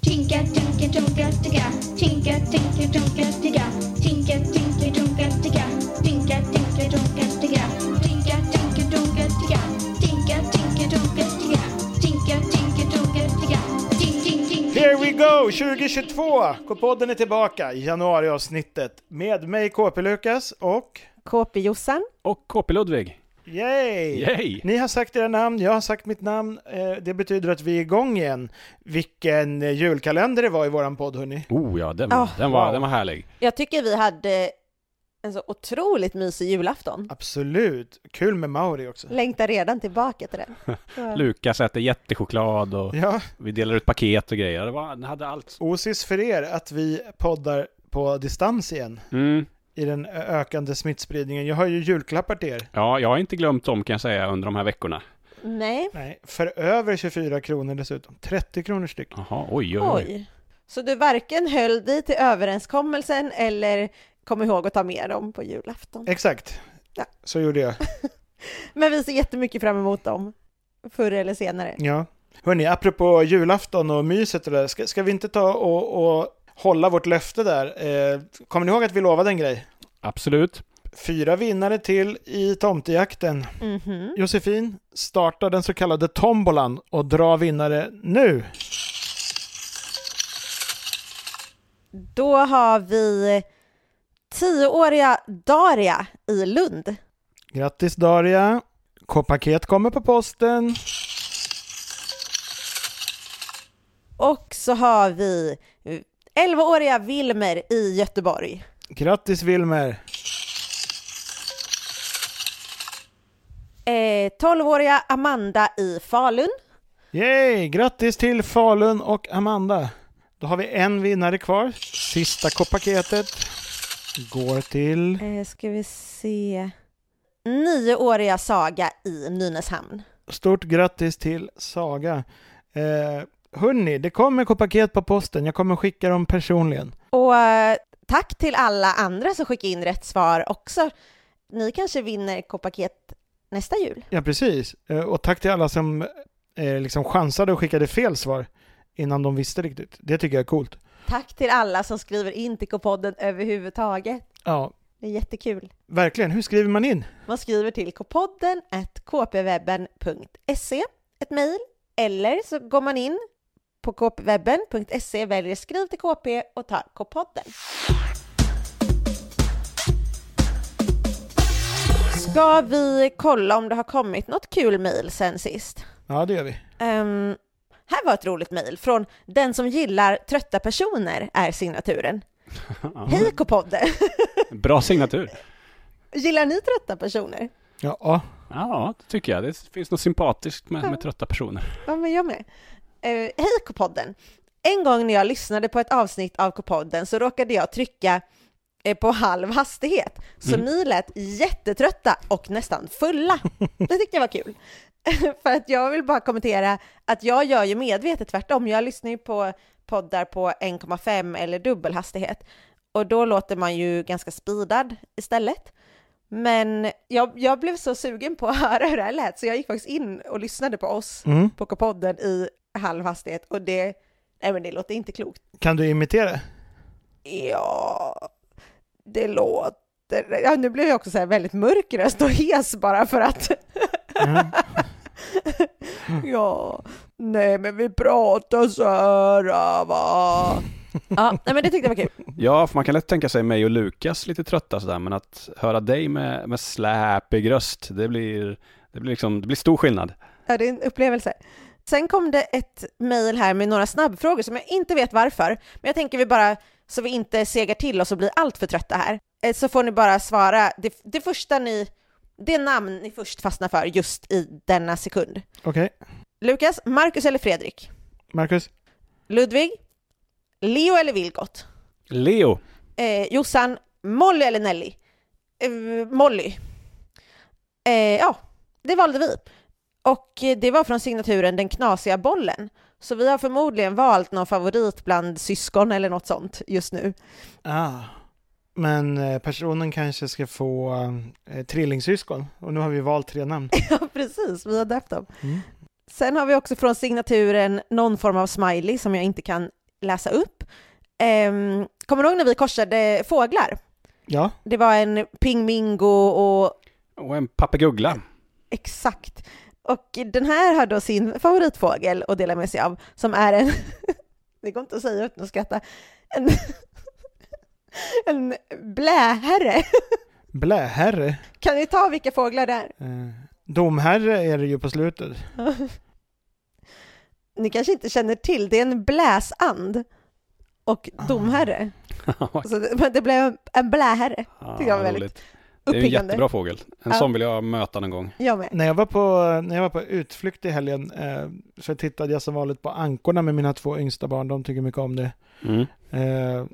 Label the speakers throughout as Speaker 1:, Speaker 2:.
Speaker 1: Tinka, tinka, tunka, ticka. Tinka, tinka, tunka, ticka. Tinka, tinka, tunka, ticka. Tinka, tinka, tunka, ticka. Tinka, tinka, tunka, ticka. Tinka, tinka, tunka, ticka. Tinka, tinka, tunka, ticka. Tink, tink, tink.
Speaker 2: Here we go 2022! K-podden är tillbaka i januariavsnittet med mig KP Lukas och
Speaker 3: KP-Jossan.
Speaker 4: Och KP Ludvig.
Speaker 2: yay!
Speaker 4: Yay!
Speaker 2: Ni har sagt era namn, jag har sagt mitt namn. Eh, Det betyder att vi är igång igen. Vilken eh, julkalender det var i våran podd hörni.
Speaker 4: Oh ja, den,
Speaker 3: Ah,
Speaker 4: den, var,
Speaker 2: wow.
Speaker 4: den var härlig.
Speaker 3: Jag tycker vi hade en så otroligt mysig julafton.
Speaker 2: Absolut. Kul med Mauri också.
Speaker 3: Längtar redan tillbaka till den. Ja.
Speaker 4: Lukas äter jättechoklad och
Speaker 2: Ja,
Speaker 4: vi delar ut paket och grejer. Det var, den hade allt.
Speaker 2: osis för er att vi poddar på distans igen
Speaker 4: Mm.
Speaker 2: i den ö- ökande smittspridningen. Jag har ju julklappar till er.
Speaker 4: Ja, jag har inte glömt dem kan jag säga under de här veckorna.
Speaker 3: Nej,
Speaker 2: Nej, för över 24 kronor dessutom. 30 kronor styck.
Speaker 4: Jaha, oj, oj, oj.
Speaker 3: oj. Så du varken höll dig till överenskommelsen eller kom ihåg att ta med dem på julafton.
Speaker 2: Exakt.
Speaker 3: Ja.
Speaker 2: Så gjorde jag.
Speaker 3: Men vi ser jättemycket fram emot dem, förr eller senare.
Speaker 2: Ja. Hörni, apropå julafton och myset och det där, ska, ska vi inte ta och, och hålla vårt löfte där? Eh, kommer ni ihåg att vi lovade en grej?
Speaker 4: Absolut.
Speaker 2: Fyra vinnare till i tomtejakten.
Speaker 3: Mhm.
Speaker 2: Josefin, starta den så kallade tombolan och dra vinnare nu.
Speaker 3: Då har vi tioåriga Daria i Lund.
Speaker 2: Grattis Daria! K-paket kommer på posten.
Speaker 3: Och så har vi 11-åriga Wilmer i Göteborg.
Speaker 2: Grattis Wilmer!
Speaker 3: Eh, 12-åriga Amanda i Falun.
Speaker 2: Yay! Grattis till Falun och Amanda. Då har vi en vinnare kvar. Sista K-paketet går till...
Speaker 3: Eh, ska vi se. 9-åriga Saga i Nynäshamn.
Speaker 2: Stort grattis till Saga. Eh, hörni, det kommer K-paket på posten. Jag kommer skicka dem personligen.
Speaker 3: Och eh, tack till alla andra som skickade in rätt svar också. Ni kanske vinner K-paket nästa jul.
Speaker 2: Ja, precis. Eh, och tack till alla som eh, liksom chansade och skickade fel svar innan de visste riktigt. Det tycker jag är coolt.
Speaker 3: Tack till alla som skriver in till K-podden överhuvudtaget.
Speaker 2: Ja,
Speaker 3: Det är jättekul.
Speaker 2: verkligen. Hur skriver man in?
Speaker 3: Man skriver till kpodden at kpwebben.se, ett mejl, eller så går man in på kpwebben.se, väljer skriv till kp och tar kpodden. Ska vi kolla om det har kommit något kul mejl sen sist?
Speaker 2: Ja, det gör vi.
Speaker 3: Ehm, här var ett roligt mejl från den som gillar trötta personer är signaturen. Hej K-podden!
Speaker 4: Bra signatur.
Speaker 3: Gillar ni trötta personer?
Speaker 2: Ja, ja.
Speaker 4: Ja, det tycker jag. Det finns något sympatiskt med, med trötta personer.
Speaker 3: Ja, men jag med. Eh, Hej K-podden! En gång när jag lyssnade på ett avsnitt av K-podden så råkade jag trycka eh, på halv hastighet, så ni lät jättetrötta och nästan fulla. Det tyckte jag var kul. För att jag vill bara kommentera att jag gör ju medvetet tvärtom. Jag lyssnar ju på poddar på 1,5 eller dubbel hastighet och då låter man ju ganska speedad istället. Men jag, jag blev så sugen på att höra hur det här lät så jag gick faktiskt in och lyssnade på oss
Speaker 2: Mm.
Speaker 3: på podden i halv hastighet och det, nej men det låter inte klokt.
Speaker 2: Kan du imitera?
Speaker 3: Ja, det låter, ja nu blev jag också så här väldigt mörk röst och hes bara för att,
Speaker 2: Mm.
Speaker 3: ja, nej men vi pratar så här ah, va. Ja, nej men det tyckte jag var kul.
Speaker 4: Ja, för man kan lätt tänka sig mig och Lukas lite trötta sådär, men att höra dig med, med släpig röst, det blir, det blir liksom, det blir stor skillnad.
Speaker 3: Ja, det är en upplevelse. Sen kom det ett mejl här med några snabbfrågor som jag inte vet varför, men jag tänker vi bara, så vi inte segar till oss och blir allt för trötta här, eh, så får ni bara svara det, det första ni, det namn ni först fastnar för just i denna sekund.
Speaker 2: Okej,
Speaker 3: Lukas, Marcus eller Fredrik?
Speaker 2: Marcus.
Speaker 3: Ludvig? Leo eller Vilgot?
Speaker 4: Leo,
Speaker 3: Eh, Jossan, Molly eller Nelly? Eh, Molly. Eh, ja, det valde vi. Och eh, det var från signaturen Den knasiga bollen. Så vi har förmodligen valt någon favorit bland syskon eller något sånt just nu.
Speaker 2: Ah. Men eh, personen kanske ska få eh, trillingsyskon. Och nu har vi valt tre namn.
Speaker 3: Ja, precis. Vi har döpt dem.
Speaker 2: Mm.
Speaker 3: Sen har vi också från signaturen någon form av smiley som jag inte kan läsa upp. Ehm, kommer du ihåg när vi korsade fåglar?
Speaker 2: Ja.
Speaker 3: Det var en pingmingo och
Speaker 4: Och en papeguggla.
Speaker 3: Exakt. Och den här har då sin favoritfågel att dela med sig av, som är en... Det går inte att säga utan att skratta. En, en bläherre.
Speaker 2: Bläherre.
Speaker 3: Kan ni ta vilka fåglar det är?
Speaker 2: Eh, domherre är det ju på slutet.
Speaker 3: Ni kanske inte känner till, det är en bläsand och
Speaker 4: Ah.
Speaker 3: domherre.
Speaker 4: Ja,
Speaker 3: Så det, men det blev en bläherre. jag var väldigt
Speaker 4: roligt. Det är en
Speaker 3: Uppiggande.
Speaker 4: jättebra fågel. En
Speaker 3: Ja.
Speaker 4: sån vill jag möta någon gång.
Speaker 3: Jag med.
Speaker 2: När jag var på, när jag var på utflykt i helgen eh, så tittade jag som vanligt på ankorna med mina två yngsta barn. De tycker mycket om det.
Speaker 4: Mm.
Speaker 2: Eh,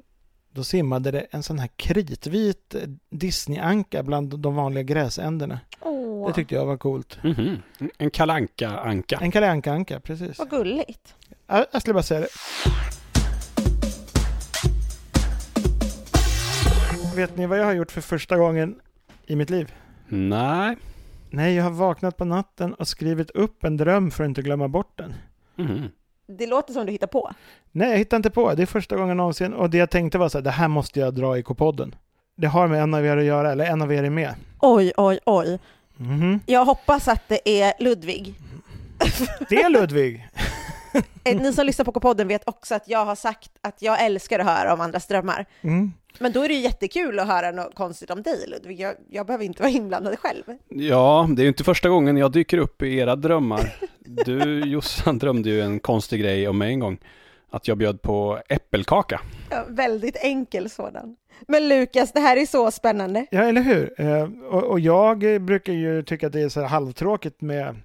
Speaker 2: då simmade det en sån här kritvit Disney-anka bland de vanliga gräsänderna.
Speaker 3: Åh,
Speaker 2: Det tyckte jag var coolt.
Speaker 4: Mhm. En kalanka anka
Speaker 2: En Kalle Anka-anka, precis.
Speaker 3: vad gulligt.
Speaker 2: Jag, jag skulle bara säga det. Vet ni vad jag har gjort för första gången i mitt liv?
Speaker 4: Nej.
Speaker 2: Nej, jag har vaknat på natten och skrivit upp en dröm för att inte glömma bort den.
Speaker 4: Mhm.
Speaker 3: Det låter som du hittar på.
Speaker 2: Nej, jag hittar inte på. Det är första gången någonsin. Och det jag tänkte var så här, det här måste jag dra i K-podden. Det har med en av er att göra, eller en av er är med.
Speaker 3: Oj, oj, oj.
Speaker 2: Mhm.
Speaker 3: Jag hoppas att det är Ludvig.
Speaker 2: Det är Ludvig!
Speaker 3: Eh, Ni som lyssnar på podden vet också att jag har sagt att jag älskar att höra om andras drömmar.
Speaker 2: Mm.
Speaker 3: Men då är det ju jättekul att höra något konstigt om dig Ludvig. Jag, jag behöver inte vara inblandad själv.
Speaker 4: Ja, det är ju inte första gången jag dyker upp i era drömmar. Du Jossan drömde ju en konstig grej om mig en gång. Att jag bjöd på äppelkaka.
Speaker 3: Ja, väldigt enkel sådan. Men Lukas, det här är så spännande.
Speaker 2: Ja, eller hur? Eh, och, och jag eh, brukar ju tycka att det är så här halvtråkigt med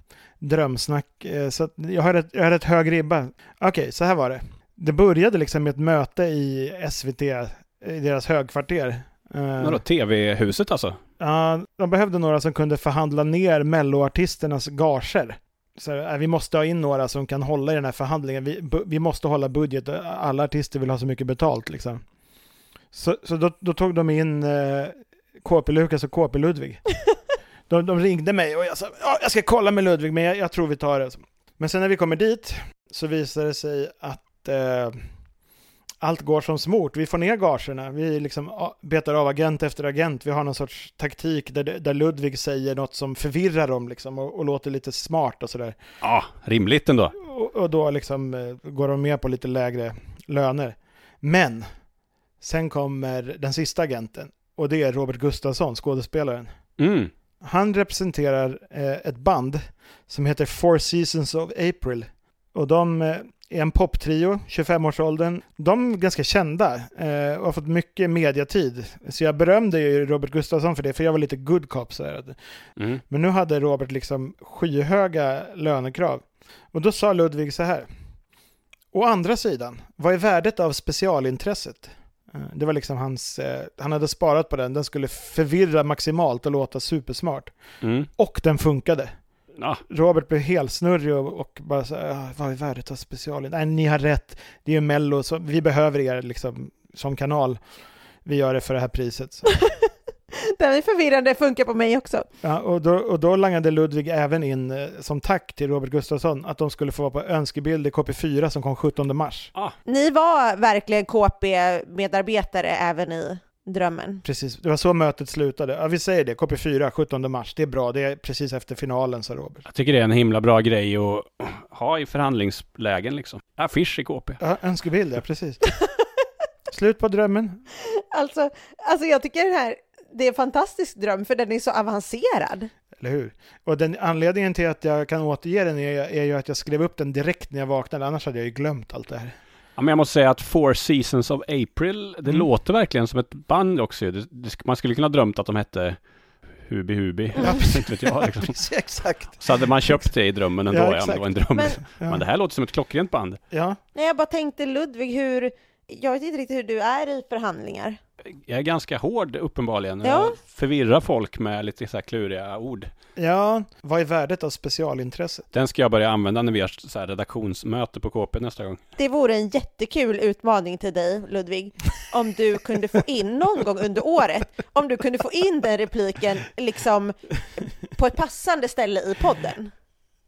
Speaker 2: drömsnack, eh, så att jag har, ett, jag har ett hög ribba. Okej, så här var det. Det började liksom med ett möte i SVT, eh, i deras högkvarter. Eh,
Speaker 4: Vadå, tv-huset alltså?
Speaker 2: Ja, de behövde några som kunde förhandla ner melloartisternas gager. Så eh, vi måste ha in några som kan hålla i den här förhandlingen. Vi, bu- vi måste hålla budget. Alla artister vill ha så mycket betalt liksom. Så, så då, då tog de in eh, KP-Lukas och KP-Ludvig. De, de ringde mig och jag sa ja, jag ska kolla med Ludvig men jag, jag tror vi tar det. Men sen när vi kommer dit så visar det sig att eh, allt går som smort. Vi får ner gagerna. Vi liksom a- betar av agent efter agent. Vi har någon sorts taktik där, där Ludvig säger något som förvirrar dem liksom och, och låter lite smart och sådär.
Speaker 4: Ja, rimligt ändå.
Speaker 2: Och, och då liksom eh, går de med på lite lägre löner. Men sen kommer den sista agenten och det är Robert Gustafsson, skådespelaren.
Speaker 4: Mm.
Speaker 2: Han representerar eh, ett band som heter Four Seasons of April. Och de eh, är en poptrio, 25-årsåldern. De är ganska kända eh, och har fått mycket mediatid. Så jag berömde ju Robert Gustafsson för det, för jag var lite good cop. Så här.
Speaker 4: Mm.
Speaker 2: Men nu hade Robert liksom skyhöga lönekrav. Och då sa Ludvig så här. Å andra sidan, vad är värdet av specialintresset? Eh, Det var liksom hans, eh, han hade sparat på den, den skulle förvirra maximalt och låta supersmart.
Speaker 4: Mm.
Speaker 2: Och den funkade.
Speaker 4: Ja,
Speaker 2: Robert blev helsnurrig och, och bara så här, "Ah, vad är värdet av specialen? Nej, ni har rätt, det är ju Mello, så vi behöver er liksom som kanal. Vi gör det för det här priset. Så.
Speaker 3: Den är förvirrande, funkar på mig också.
Speaker 2: Ja, och, då, och då langade Ludvig även in eh, som tack till Robert Gustafsson att de skulle få vara på önskebild i KP4 som kom 17 mars.
Speaker 3: Ni var verkligen KP-medarbetare även i drömmen.
Speaker 2: Precis, det var så mötet slutade. Ja, vi säger det, KP4 17 mars, det är bra, det är precis efter finalen, sa Robert.
Speaker 4: jag tycker det är en himla bra grej att ha i förhandlingslägen liksom. Affisch i KP.
Speaker 2: Ja, önskebild, ja, precis. Slut på drömmen.
Speaker 3: Alltså, alltså jag tycker den här, det är en fantastisk dröm för den är så avancerad.
Speaker 2: Eller hur? Och den anledningen till att jag kan återge den är, är ju att jag skrev upp den direkt när jag vaknade, annars hade jag ju glömt allt det här.
Speaker 4: Ja, men jag måste säga att Four Seasons of April, det
Speaker 2: Mm.
Speaker 4: låter verkligen som ett band också. ju. Det, det, sk- man skulle kunna ha drömt att de hette Hubi Hubi.
Speaker 2: Ja,
Speaker 4: Inte vet jag, liksom.
Speaker 2: precis, exakt.
Speaker 4: Så hade man köpt det i drömmen ändå,
Speaker 2: Ja,
Speaker 4: ja, om det
Speaker 2: exakt.
Speaker 4: var en dröm.
Speaker 3: Men-
Speaker 4: Men,
Speaker 2: Ja,
Speaker 4: det här låter som ett klockrent band.
Speaker 2: ja.
Speaker 3: Nej, jag bara tänkte Ludvig, hur, jag vet inte riktigt hur du är i förhandlingar.
Speaker 4: Jag är ganska hård uppenbarligen.
Speaker 3: Ja.
Speaker 4: Jag förvirrar folk med lite så här kluriga ord.
Speaker 2: ja. vad är värdet av specialintresse?
Speaker 4: Den ska jag börja använda när vi har så här redaktionsmöte på KP nästa gång.
Speaker 3: Det vore en jättekul utmaning till dig, Ludvig, om du kunde få in någon gång under året, om du kunde få in den repliken liksom på ett passande ställe i podden.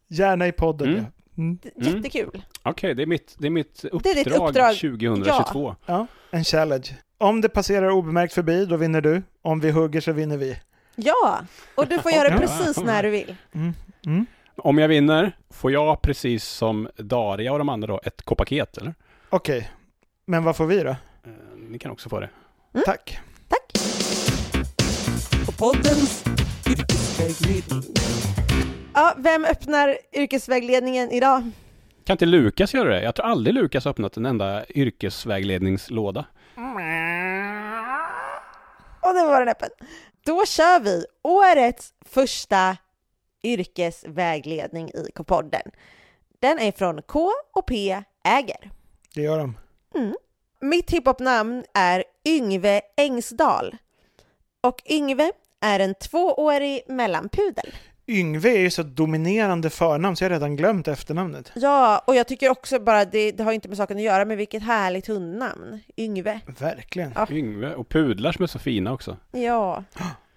Speaker 2: Gärna i podden,
Speaker 4: Mm.
Speaker 2: ja. Mm.
Speaker 4: Mm.
Speaker 3: Jättekul.
Speaker 4: Okej, det, är mitt- det är mitt uppdrag,
Speaker 3: ditt uppdrag.
Speaker 4: 2022.
Speaker 2: Ja, en challenge. Om det passerar obemärkt förbi, då vinner du. Om vi hugger så vinner vi.
Speaker 3: Ja, och du får göra det
Speaker 4: Ja.
Speaker 3: precis när du vill.
Speaker 2: Mm.
Speaker 4: Om jag vinner, får jag precis som Daria och de andra då ett kopaket eller?
Speaker 2: Okej, men vad får vi då?
Speaker 4: Eh, Ni kan också få det.
Speaker 2: Tack.
Speaker 3: Tack. Ja, vem öppnar yrkesvägledningen idag?
Speaker 4: Kan inte Lukas göra det? Jag tror aldrig Lukas har öppnat en enda yrkesvägledningslåda.
Speaker 3: Och nu var den öppen. Då kör vi årets första yrkesvägledning i K-podden. Den är från K och P Äger.
Speaker 2: Det gör de.
Speaker 3: Mitt hiphopnamn är Yngve Engsdal och Yngve är en tvåårig mellanpudel.
Speaker 2: Yngve är ju så dominerande förnamn så jag har redan glömt efternamnet.
Speaker 3: Ja, och jag tycker också bara det, det har inte med saken att göra, men vilket härligt hundnamn. Yngve.
Speaker 2: Verkligen.
Speaker 3: Ja.
Speaker 4: Yngve och pudlar som är så fina också.
Speaker 3: Ja,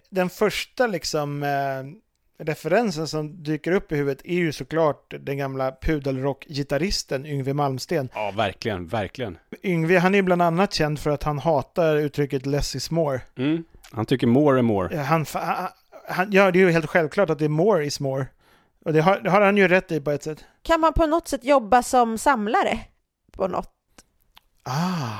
Speaker 2: Den första liksom eh, referensen som dyker upp i huvudet är ju såklart den gamla pudelrock-gitarristen Yngve Malmsten.
Speaker 4: Ja, verkligen, verkligen.
Speaker 2: Yngve, han är ju bland annat känd för att han hatar uttrycket less is more.
Speaker 4: Mm. Han tycker more and more.
Speaker 2: Ja, Han, fa- han, ja, det är ju helt självklart att det är more is more. Och det har, det har han ju rätt i på ett sätt.
Speaker 3: kan man på något sätt jobba som samlare på något?
Speaker 2: Ah.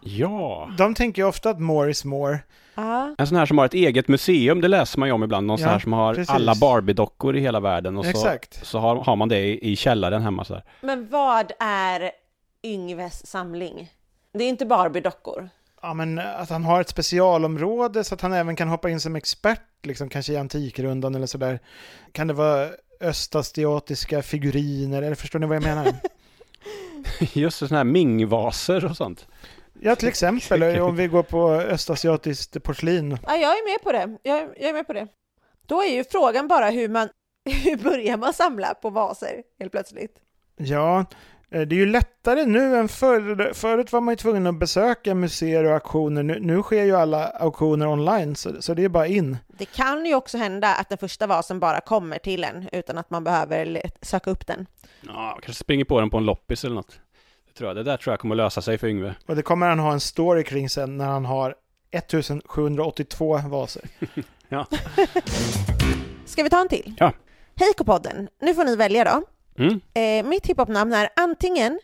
Speaker 4: Ja.
Speaker 2: De tänker ju ofta att more is more.
Speaker 3: Ja,
Speaker 4: En sån här som har ett eget museum, det läser man ju om ibland. Någon sån
Speaker 2: Ja,
Speaker 4: här som har
Speaker 2: precis.
Speaker 4: alla Barbie-dockor i hela världen. Och så,
Speaker 2: Exakt.
Speaker 4: så har, har man det i, i källaren hemma så här.
Speaker 3: men vad är Yngves samling? Det är inte Barbie-dockor.
Speaker 2: Ja, men eh, att han har ett specialområde så att han även kan hoppa in som expert, liksom, kanske i Antikrundan eller sådär. Kan det vara östasiatiska figuriner? Eller förstår ni vad jag menar?
Speaker 4: Just det, såna här mingvaser och sånt.
Speaker 2: Ja, till exempel om vi går på östasiatiskt porslin.
Speaker 3: Ja, jag är med på det. Jag, är- jag är med på det. Då är ju frågan bara hur man hur börjar man samla på vaser helt plötsligt?
Speaker 2: Ja, eh, det är ju lättare nu än förr. Förut var man ju tvungen att besöka museer och auktioner. Nu, nu sker ju alla auktioner online, så, så det är bara in.
Speaker 3: Det kan ju också hända att den första vasen bara kommer till en utan att man behöver let- söka upp den.
Speaker 4: Ja, kanske springer på den på en loppis eller något. Det, tror jag. det där tror jag kommer lösa sig för Yngve.
Speaker 2: Och det kommer han ha en story kring sen när han har 1782 vaser.
Speaker 3: Ska vi ta en till?
Speaker 4: Ja.
Speaker 3: Hej K-podden! Nu får ni välja då.
Speaker 4: Mm.
Speaker 3: Eh, mitt hiphopnamn är antingen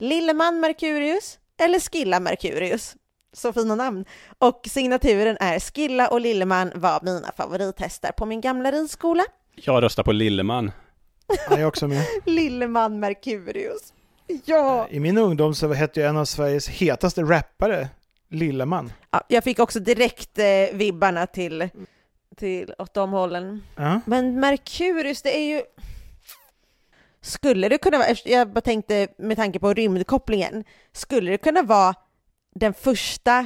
Speaker 3: Lilleman Mercurius eller Skilla Mercurius. Så fina namn. Och signaturen är Skilla och Lilleman var mina favorithästar på min gamla ridskola.
Speaker 4: Jag röstar på Lilleman.
Speaker 2: Han är också med.
Speaker 3: Lilleman Mercurius. Ja.
Speaker 2: I min ungdom så hette jag en av Sveriges hetaste rappare Lilleman.
Speaker 3: ja! Jag fick också direkt eh, vibbarna till, till åt de hållen.
Speaker 2: Ja.
Speaker 3: Men Merkurius, det är ju... Skulle det kunna vara, efter- jag bara tänkte med tanke på rymdkopplingen, skulle det kunna vara den första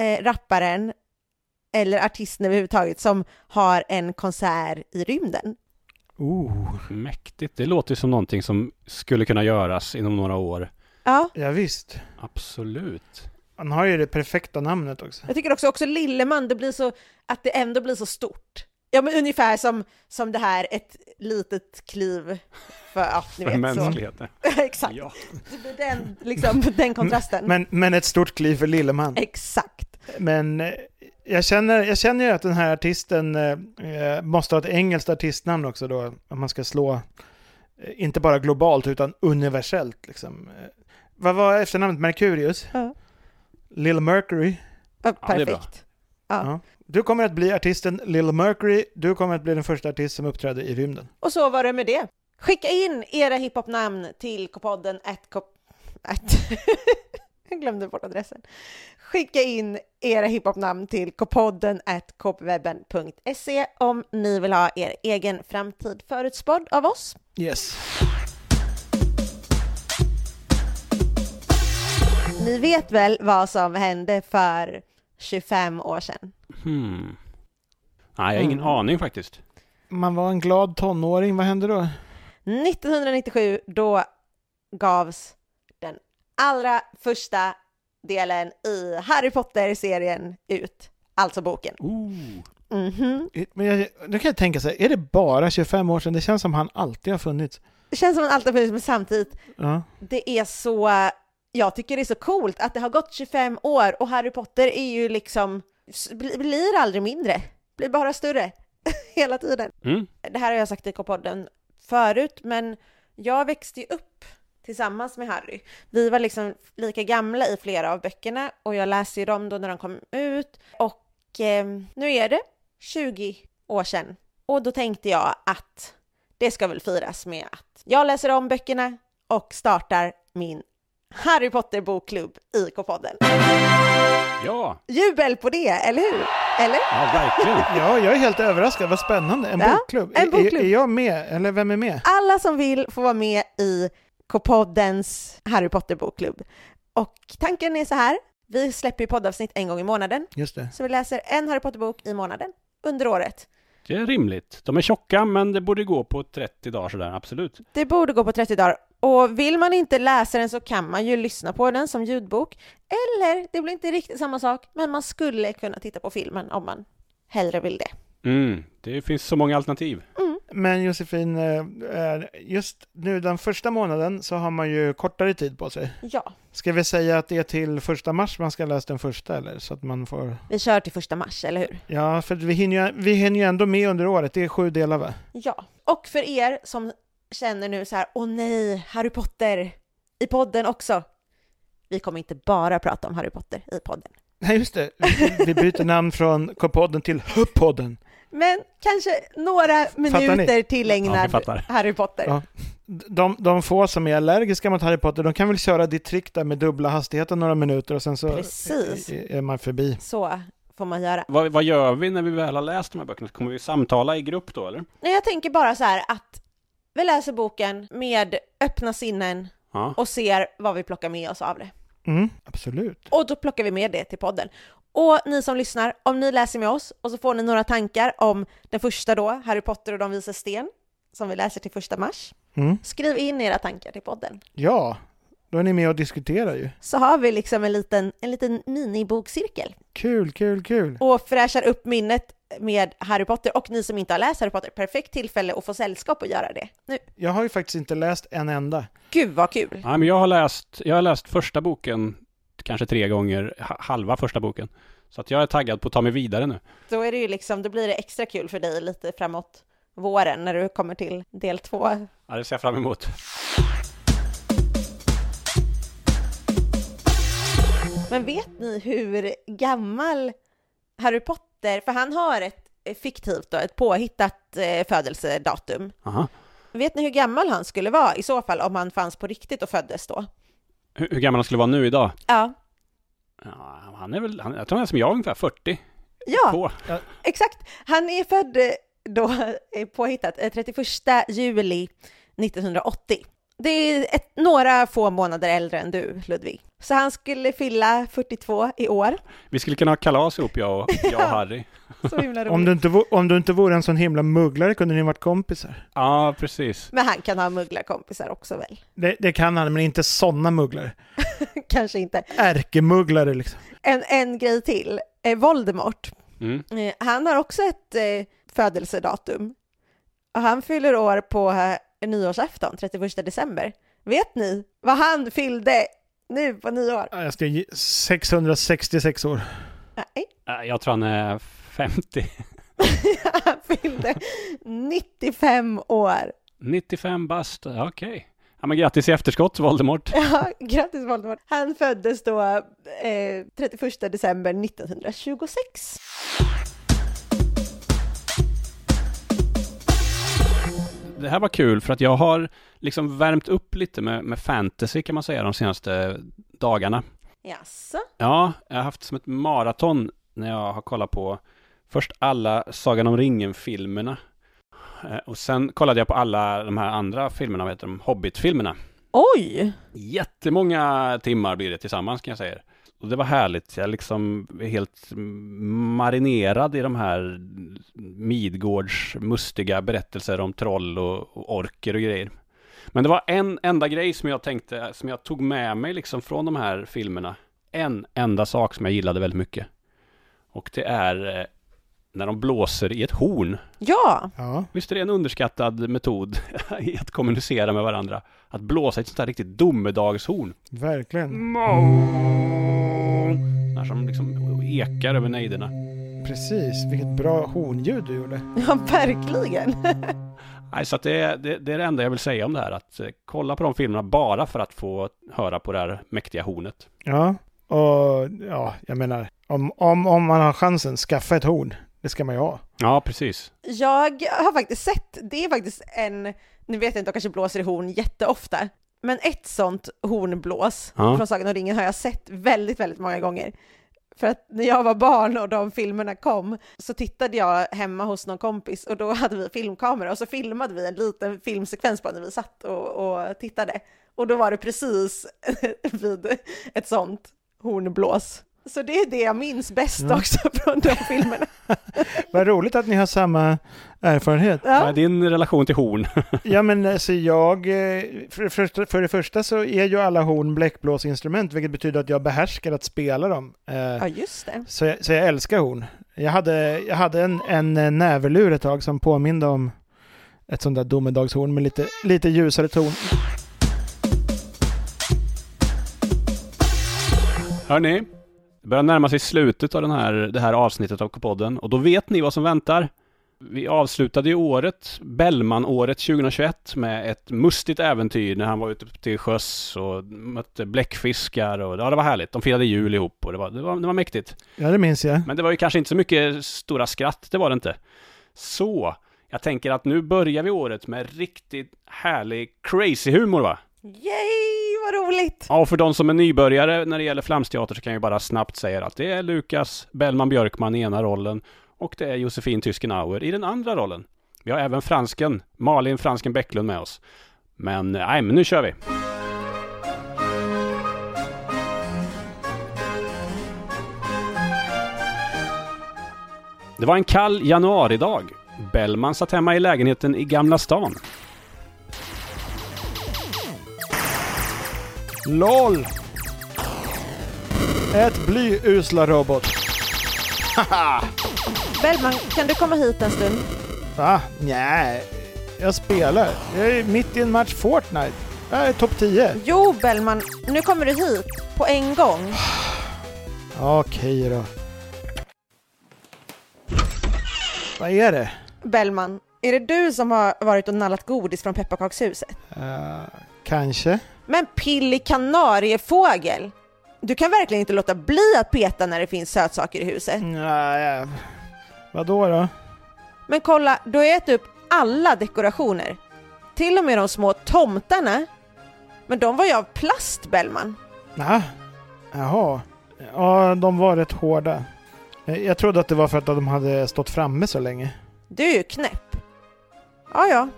Speaker 3: eh, rapparen eller artisten överhuvudtaget som har en konsert i rymden?
Speaker 2: Oh.
Speaker 4: Mäktigt. Det låter ju som någonting som skulle kunna göras inom några år.
Speaker 3: Ja,
Speaker 2: Ja, visst.
Speaker 4: Absolut.
Speaker 2: Han har ju det perfekta namnet också.
Speaker 3: jag tycker också, också Lilleman, det blir så, att det ändå blir så stort. Ja, men ungefär som, som det här, ett litet kliv för, ja, ni
Speaker 4: För
Speaker 3: vet. Så.
Speaker 4: mänskligheten.
Speaker 3: Exakt,
Speaker 4: Ja.
Speaker 3: det blir den, liksom, den kontrasten.
Speaker 2: Men, men ett stort kliv för Lilleman.
Speaker 3: Exakt.
Speaker 2: Men eh, jag känner, jag känner ju att den här artisten eh, eh, måste ha ett engelskt artistnamn också då, om man ska slå, eh, inte bara globalt utan universellt liksom. Eh, Vad var efternamnet? Mercurius?
Speaker 3: Ja.
Speaker 2: Lil Mercury?
Speaker 3: Ja,
Speaker 4: Ja, det är bra.
Speaker 3: Perfekt. Ja.
Speaker 2: Ja. Du kommer att bli artisten Lil Mercury, du kommer att bli den första artist som uppträder i rymden.
Speaker 3: Och så var det med det. Skicka in era hiphopnamn till kopodden at kop... At... Jag glömde bort adressen. Skicka in era hiphopnamn till kopodden at kopwebben.se om ni vill ha er egen framtid förutspådd av oss.
Speaker 2: Yes.
Speaker 3: Ni vet väl vad som hände för 25 år sedan?
Speaker 4: Hmm. Nej, jag har ingen
Speaker 3: Mm.
Speaker 4: aning faktiskt.
Speaker 2: Man var en glad tonåring, vad hände då?
Speaker 3: 1997 då gavs den allra första delen i Harry Potter-serien ut, alltså boken.
Speaker 4: Oh.
Speaker 3: Mhm.
Speaker 2: Men jag, nu kan jag tänka så här, är det bara 25 år sedan? Det känns som han alltid har funnits.
Speaker 3: Det känns som att allt har funnits, men samtidigt,
Speaker 2: Ja.
Speaker 3: det är så, jag tycker det är så coolt att det har gått 25 år och Harry Potter är ju liksom, s- bli- blir aldrig mindre, blir bara större hela tiden.
Speaker 4: Mm.
Speaker 3: Det här har jag sagt i K-podden förut, men jag växte ju upp tillsammans med Harry. Vi var liksom lika gamla i flera av böckerna och jag läste ju dem då när de kom ut och eh, nu är det 20 år sedan och då tänkte jag att det ska väl firas med att jag läser om böckerna och startar min Harry Potter bokklubb i K-podden.
Speaker 4: Ja,
Speaker 3: Jubel på det, eller hur? Eller?
Speaker 4: ja, verkligen.
Speaker 2: ja, jag är helt överraskad. Vad spännande. En
Speaker 3: Ja,
Speaker 2: bokklubb.
Speaker 3: en
Speaker 2: Är-
Speaker 3: bokklubb.
Speaker 2: Är, är jag med? Eller vem är med?
Speaker 3: alla som vill får vara med i K-poddens Harry Potter-bokklubb. Och tanken är så här, vi släpper ju poddavsnitt en gång i månaden,
Speaker 2: Just det.
Speaker 3: så vi läser en Harry Potter-bok i månaden under året.
Speaker 4: Det är rimligt. De är tjocka, men det borde gå på 30 dagar sådär, absolut.
Speaker 3: Det borde gå på 30 dagar. Och vill man inte läsa den så kan man ju lyssna på den som ljudbok. Eller, det blir inte riktigt samma sak, men man skulle kunna titta på filmen om man hellre vill det. Mm.
Speaker 4: Mm. Det finns så många alternativ.
Speaker 2: Men Josefin, eh, eh, just nu den första månaden så har man ju kortare tid på sig.
Speaker 3: Ja,
Speaker 2: Ska vi säga att det är till första mars man ska läsa den första eller? Så att man får...
Speaker 3: vi kör till första mars, eller hur?
Speaker 2: Ja, för vi hinner, ju, vi hinner ju ändå med under året. Det är sju delar va?
Speaker 3: Ja, och för er som känner nu så här, åh nej, Harry Potter i podden också. Vi kommer inte bara prata om Harry Potter i podden,
Speaker 2: Nej, just det. Vi- Vi byter namn från K-podden till H-podden.
Speaker 3: men kanske några minuter
Speaker 4: Ja, vi
Speaker 3: tillägnad
Speaker 4: fattar.
Speaker 3: Harry Potter.
Speaker 2: Ja. De, de få som är allergiska mot Harry Potter, de kan väl köra ditt trick där med dubbla hastigheten några minuter och sen så
Speaker 3: Precis.
Speaker 2: är- är man förbi.
Speaker 3: Så får man göra.
Speaker 4: Vad, vad gör vi när vi väl har läst de här böckerna? Kommer vi samtala i grupp då, eller?
Speaker 3: Nej, jag tänker bara så här att vi läser boken med öppna sinnen
Speaker 4: Ja.
Speaker 3: och ser vad vi plockar med oss av det.
Speaker 2: Mm, absolut.
Speaker 3: Och då plockar vi med det till podden. Och ni som lyssnar, om ni läser med oss och så får ni några tankar om den första då, Harry Potter och de visa sten, som vi läser till första mars.
Speaker 2: Mm.
Speaker 3: Skriv in era tankar till podden,
Speaker 2: Ja, då är ni med och diskuterar ju.
Speaker 3: så har vi liksom en liten, en liten minibokcirkel
Speaker 2: Kul, kul, kul.
Speaker 3: och fräschar upp minnet med Harry Potter. Och ni som inte har läst Harry Potter, perfekt tillfälle att få sällskap och göra det nu.
Speaker 2: Jag har ju faktiskt inte läst en enda.
Speaker 3: Gud vad kul!
Speaker 4: Nej, men jag har läst, jag har läst första boken kanske tre gånger, ha- halva första boken. Så att jag är taggad på att ta mig vidare nu.
Speaker 3: Då är det ju liksom, då blir det extra kul för dig lite framåt våren när du kommer till del två.
Speaker 4: Ja, det ser jag fram emot.
Speaker 3: Men vet ni hur gammal Harry Potter, för han har ett eh, fiktivt då, ett påhittat eh, födelsedatum.
Speaker 4: Aha.
Speaker 3: Vet ni hur gammal han skulle vara i så fall om han fanns på riktigt och föddes då?
Speaker 4: Hur, hur gammal han skulle vara nu idag?
Speaker 3: Ja.
Speaker 4: Ja, han är väl, han, jag tror han är som jag ungefär, 40.
Speaker 3: Ja,
Speaker 4: På.
Speaker 3: exakt. Han är född eh, då, eh, påhittat, eh, 31 juli 1980. Det är ett, några få månader äldre än du, Ludvig. Så han skulle fylla 42 i år.
Speaker 4: Vi skulle kunna ha kalas ihop, jag och, jag och Harry.
Speaker 3: Så himla
Speaker 2: Om du,
Speaker 3: roligt.
Speaker 2: inte vore, om du inte vore en sån himla mugglare kunde ni varit kompisar.
Speaker 4: Ja, precis.
Speaker 3: Men han kan ha mugglarkompisar också väl?
Speaker 2: Det, det kan han, men inte såna mugglare.
Speaker 3: Kanske inte.
Speaker 2: Ärkemugglare liksom.
Speaker 3: En, en grej till. Eh, Voldemort,
Speaker 4: Mm.
Speaker 3: eh, han har också ett eh, födelsedatum. Och han fyller år på eh, nyårsafton, 31 december. Vet ni vad han fyllde nu på nyår?
Speaker 2: Ja, Jag ska ge 666 år.
Speaker 3: Nej,
Speaker 4: Äh, Jag tror han är 50.
Speaker 3: han fyllde 95 år.
Speaker 4: 95 bast, Ja, okej. Ja, men grattis i efterskott, Voldemort.
Speaker 3: Ja, grattis Voldemort. Han föddes då eh, 31 december 1926.
Speaker 4: Det här var kul för att jag har liksom värmt upp lite med, med fantasy kan man säga de senaste dagarna.
Speaker 3: Jaså?
Speaker 4: Ja, jag har haft som ett maraton när jag har kollat på först alla Sagan om ringen-filmerna. Eh, Och sen kollade jag på alla de här andra filmerna, vad heter de? Hobbit-filmerna.
Speaker 3: Oj!
Speaker 4: Jättemånga timmar blir det tillsammans kan jag säga. er. Och det var härligt. Jag liksom är helt marinerad i de här Midgårds mustiga berättelser om troll och, och orker och grejer. Men det var en enda grej som jag tänkte, som jag tog med mig liksom från de här filmerna. En enda sak som jag gillade väldigt mycket. Och det är eh, när de blåser i ett horn.
Speaker 3: Ja,
Speaker 2: Ja.
Speaker 4: Visst är det en underskattad metod i att kommunicera med varandra? Att blåsa i ett sånt här riktigt domedagshorn.
Speaker 2: Verkligen.
Speaker 4: När som liksom ekar över nejderna.
Speaker 2: Precis. Vilket bra hornljud du gjorde.
Speaker 3: ja verkligen.
Speaker 4: Nej, så att det, det, det är det enda jag vill säga om det här. Att eh, kolla på de filmerna bara för att få höra på det här mäktiga hornet.
Speaker 2: Ja. Och ja, jag menar, om, om, om man har chansen, skaffa ett horn. Det ska man ju ha.
Speaker 4: Ja, precis.
Speaker 3: Jag har faktiskt sett, det är faktiskt en, nu vet jag inte, de kanske blåser i horn jätteofta, men ett sånt hornblås
Speaker 4: Ja.
Speaker 3: från Sagan om ringen har jag sett väldigt, väldigt många gånger. För att när jag var barn och de filmerna kom så tittade jag hemma hos någon kompis och då hade vi filmkamera och så filmade vi en liten filmsekvens på när vi satt och, och tittade. Och då var det precis vid ett sånt hornblås. Så det är det jag minns bäst
Speaker 2: Ja.
Speaker 3: också från de filmerna.
Speaker 2: Vad roligt att ni har samma erfarenhet.
Speaker 4: Vad är din relation till horn?
Speaker 2: Ja men alltså jag, eh, för det, första, för det första så är ju alla horn bläckblåsinstrument vilket betyder att jag behärskar att spela dem. Eh,
Speaker 3: Ja, just det.
Speaker 2: så, jag, så jag älskar horn. Jag hade, jag hade en, en eh, näverlur ett tag som påminde om ett sånt där domedagshorn med lite, lite ljusare ton.
Speaker 4: Hörni, det börjar närma sig slutet av den här, det här avsnittet av podden och då vet ni vad som väntar. Vi avslutade ju året, Bellman-året 2021, med ett mustigt äventyr när han var ute till sjöss och mötte bläckfiskar och ja, det var härligt. De firade jul ihop och det var, det var, det var mäktigt.
Speaker 2: Ja det minns jag.
Speaker 4: Men det var ju kanske inte så mycket stora skratt, det var det inte. Så, jag tänker att nu börjar vi året med riktigt härlig crazy humor va?
Speaker 3: Yay, vad roligt!
Speaker 4: Ja, och för de som är nybörjare när det gäller flamsteater så kan jag ju bara snabbt säga att det är Lukas Bellman Björkman i ena rollen och det är Josefin Tyskenauer i den andra rollen. Vi har även fransken, Malin Fransken Bäcklund med oss. Men eh, nej, men nu kör vi! Det var en kall januaridag. Bellman satt hemma i lägenheten i Gamla stan.
Speaker 2: LOL! Ett bly usla robot.
Speaker 3: Bellman, kan du komma hit en stund?
Speaker 2: Va? Nej. Jag spelar. Jag är mitt i en match Fortnite. Jag är topp 10.
Speaker 3: Jo, Bellman, nu kommer du hit på en gång.
Speaker 2: Okej då. Vad är det?
Speaker 3: Bellman, är det du som har varit och nallat godis från pepparkakshuset?
Speaker 2: Eh, kanske.
Speaker 3: Men pillig kanariefågel! Du kan verkligen inte låta bli att peta när det finns sötsaker i huset.
Speaker 2: Nej. Vadå då?
Speaker 3: Men kolla, du har ätit upp alla dekorationer. Till och med de små tomtarna. Men de var ju av plast, Bellman.
Speaker 2: Nä? Jaha. Ja, de var rätt hårda. Eh, Jag trodde att det var för att de hade stått framme så länge.
Speaker 3: Du är ju knäpp. Ja, ja.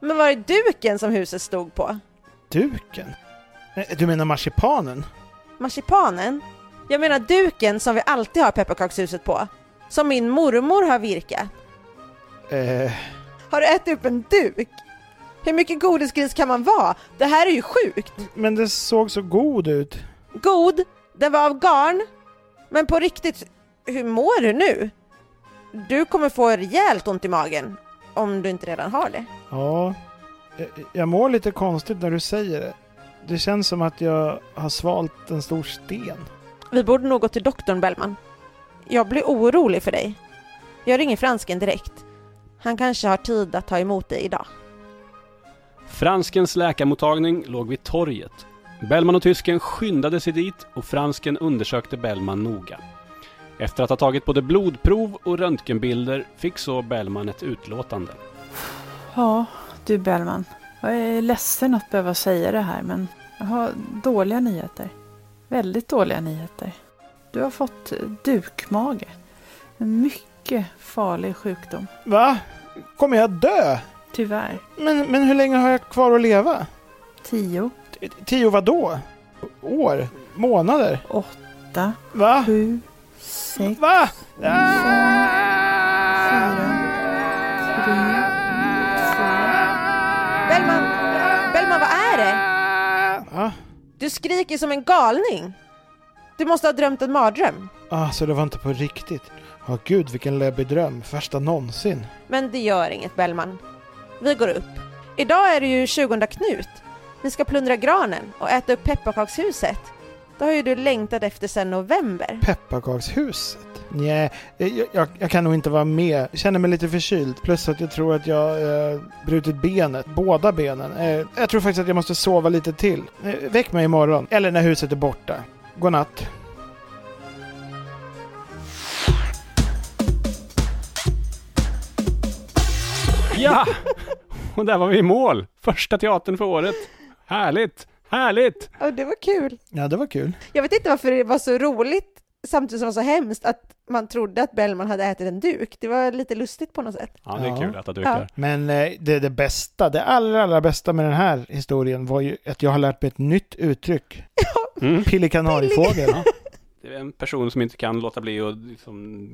Speaker 3: Men var är duken som huset stod på?
Speaker 2: Duken? Eh, Du menar marsipanen?
Speaker 3: Marsipanen? Jag menar duken som vi alltid har pepparkakshuset på. Som min mormor har virkat.
Speaker 2: Eh,
Speaker 3: Har du ätit upp en duk? Hur mycket godisgris kan man vara? Det här är ju sjukt!
Speaker 2: men det såg så god ut.
Speaker 3: God, den var av garn. Men på riktigt, hur mår du nu? Du kommer få rejält ont i magen. Om du inte redan har det.
Speaker 2: Ja. Eh, Jag mår lite konstigt när du säger det. Det känns som att jag har svalt en stor sten.
Speaker 3: Vi borde nog gå till doktorn Bellman. Jag blir orolig för dig. Jag ringer fransken direkt. Han kanske har tid att ta emot dig idag.
Speaker 4: Franskens läkarmottagning låg vid torget. Bellman och tysken skyndade sig dit och fransken undersökte Bellman noga. Efter att ha tagit både blodprov och röntgenbilder fick så Bellman ett utlåtande.
Speaker 5: Ja, du Bellman. Jag är ledsen att behöva säga det här men jag har dåliga nyheter. Väldigt dåliga nyheter. Du har fått dukmage. En mycket farlig sjukdom.
Speaker 2: Va? Kommer jag dö?
Speaker 5: Tyvärr.
Speaker 2: Men, men hur länge har jag kvar att leva?
Speaker 5: Tio,
Speaker 2: T- Tio vadå? År? Månader?
Speaker 5: åtta,
Speaker 2: Va?
Speaker 5: sju, sex,
Speaker 2: Va?
Speaker 5: tre,
Speaker 3: Bellman! Bellman, vad är det?
Speaker 2: Va?
Speaker 3: Du skriker som en galning! Du måste ha drömt en mardröm.
Speaker 2: Ah, så det var inte på riktigt? Ja, gud vilken läbbig dröm. Värsta någonsin.
Speaker 3: Men det gör inget Bellman. Vi går upp. Idag är det ju 20 Knut. Vi ska plundra granen och äta upp pepparkakshuset. Det har ju du längtat efter sedan november.
Speaker 2: Pepparkakshuset? Nej, jag, jag, jag kan nog inte vara med. Jag känner mig lite förkyld. Plus att jag tror att jag eh, brutit benet. Båda benen. Eh, jag tror faktiskt att jag måste sova lite till. Eh, väck mig imorgon. Eller när huset är borta. Godnatt.
Speaker 4: Ja! Och där var vi i mål! Första teatern för året. Härligt! Härligt!
Speaker 3: Och det var kul.
Speaker 2: Ja, det var kul.
Speaker 3: Jag vet inte varför det var så roligt samtidigt som det var så hemskt att man trodde att Bellman hade ätit en duk. Det var lite lustigt på något sätt.
Speaker 4: Ja, det är
Speaker 2: Ja.
Speaker 4: kul att du dukar.
Speaker 2: Men eh, det, det bästa, det allra, allra bästa med den här historien var ju att jag har lärt mig ett nytt uttryck.
Speaker 4: Mm.
Speaker 2: Pillekanarifågel.
Speaker 4: Det är en person som inte kan låta bli att liksom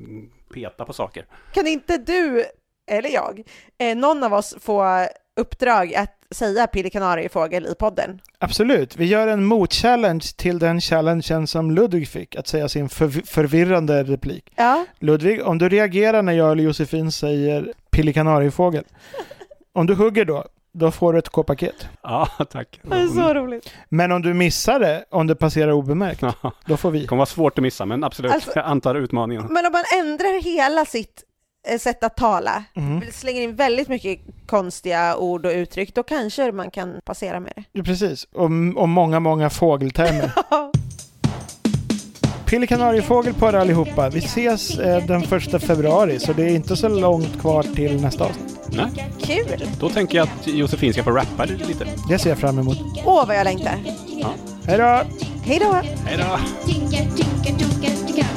Speaker 4: peta på saker.
Speaker 3: Kan inte du, eller jag, eh, någon av oss få uppdrag att säga pillekanariefågel i podden?
Speaker 2: Absolut, vi gör en mot-challenge till den challengen som Ludvig fick, att säga sin förv- förvirrande replik.
Speaker 3: Ja,
Speaker 2: Ludvig, om du reagerar när jag eller Josefin säger pillekanariefågel, om du hugger då, då får du ett K-paket.
Speaker 4: Ja, tack.
Speaker 3: det är så roligt.
Speaker 2: Men om du missar det, om det passerar obemärkt,
Speaker 4: Ja,
Speaker 2: då får
Speaker 4: det
Speaker 2: vi.
Speaker 4: kommer vara svårt att missa, men absolut.
Speaker 3: Alltså-
Speaker 4: Jag antar utmaningen.
Speaker 3: Men om man ändrar hela sitt eh, sätt att tala,
Speaker 2: Mm.
Speaker 3: slänger in väldigt mycket konstiga ord och uttryck, då kanske man kan passera med det.
Speaker 2: Ja, precis, och, och många, många fågeltermer. Pillekanariefågel på er allihopa. Vi ses eh, den första februari, så det är inte så långt kvar till nästa avsnitt.
Speaker 4: Nej.
Speaker 3: Kul!
Speaker 4: Då tänker jag att Josefin ska få rappa lite.
Speaker 2: Det ser jag fram emot.
Speaker 3: Åh, vad jag längtar!
Speaker 2: Hej då!
Speaker 3: Hej då!
Speaker 4: Hej då!
Speaker 1: Tinka, tinka, tonka, tinka.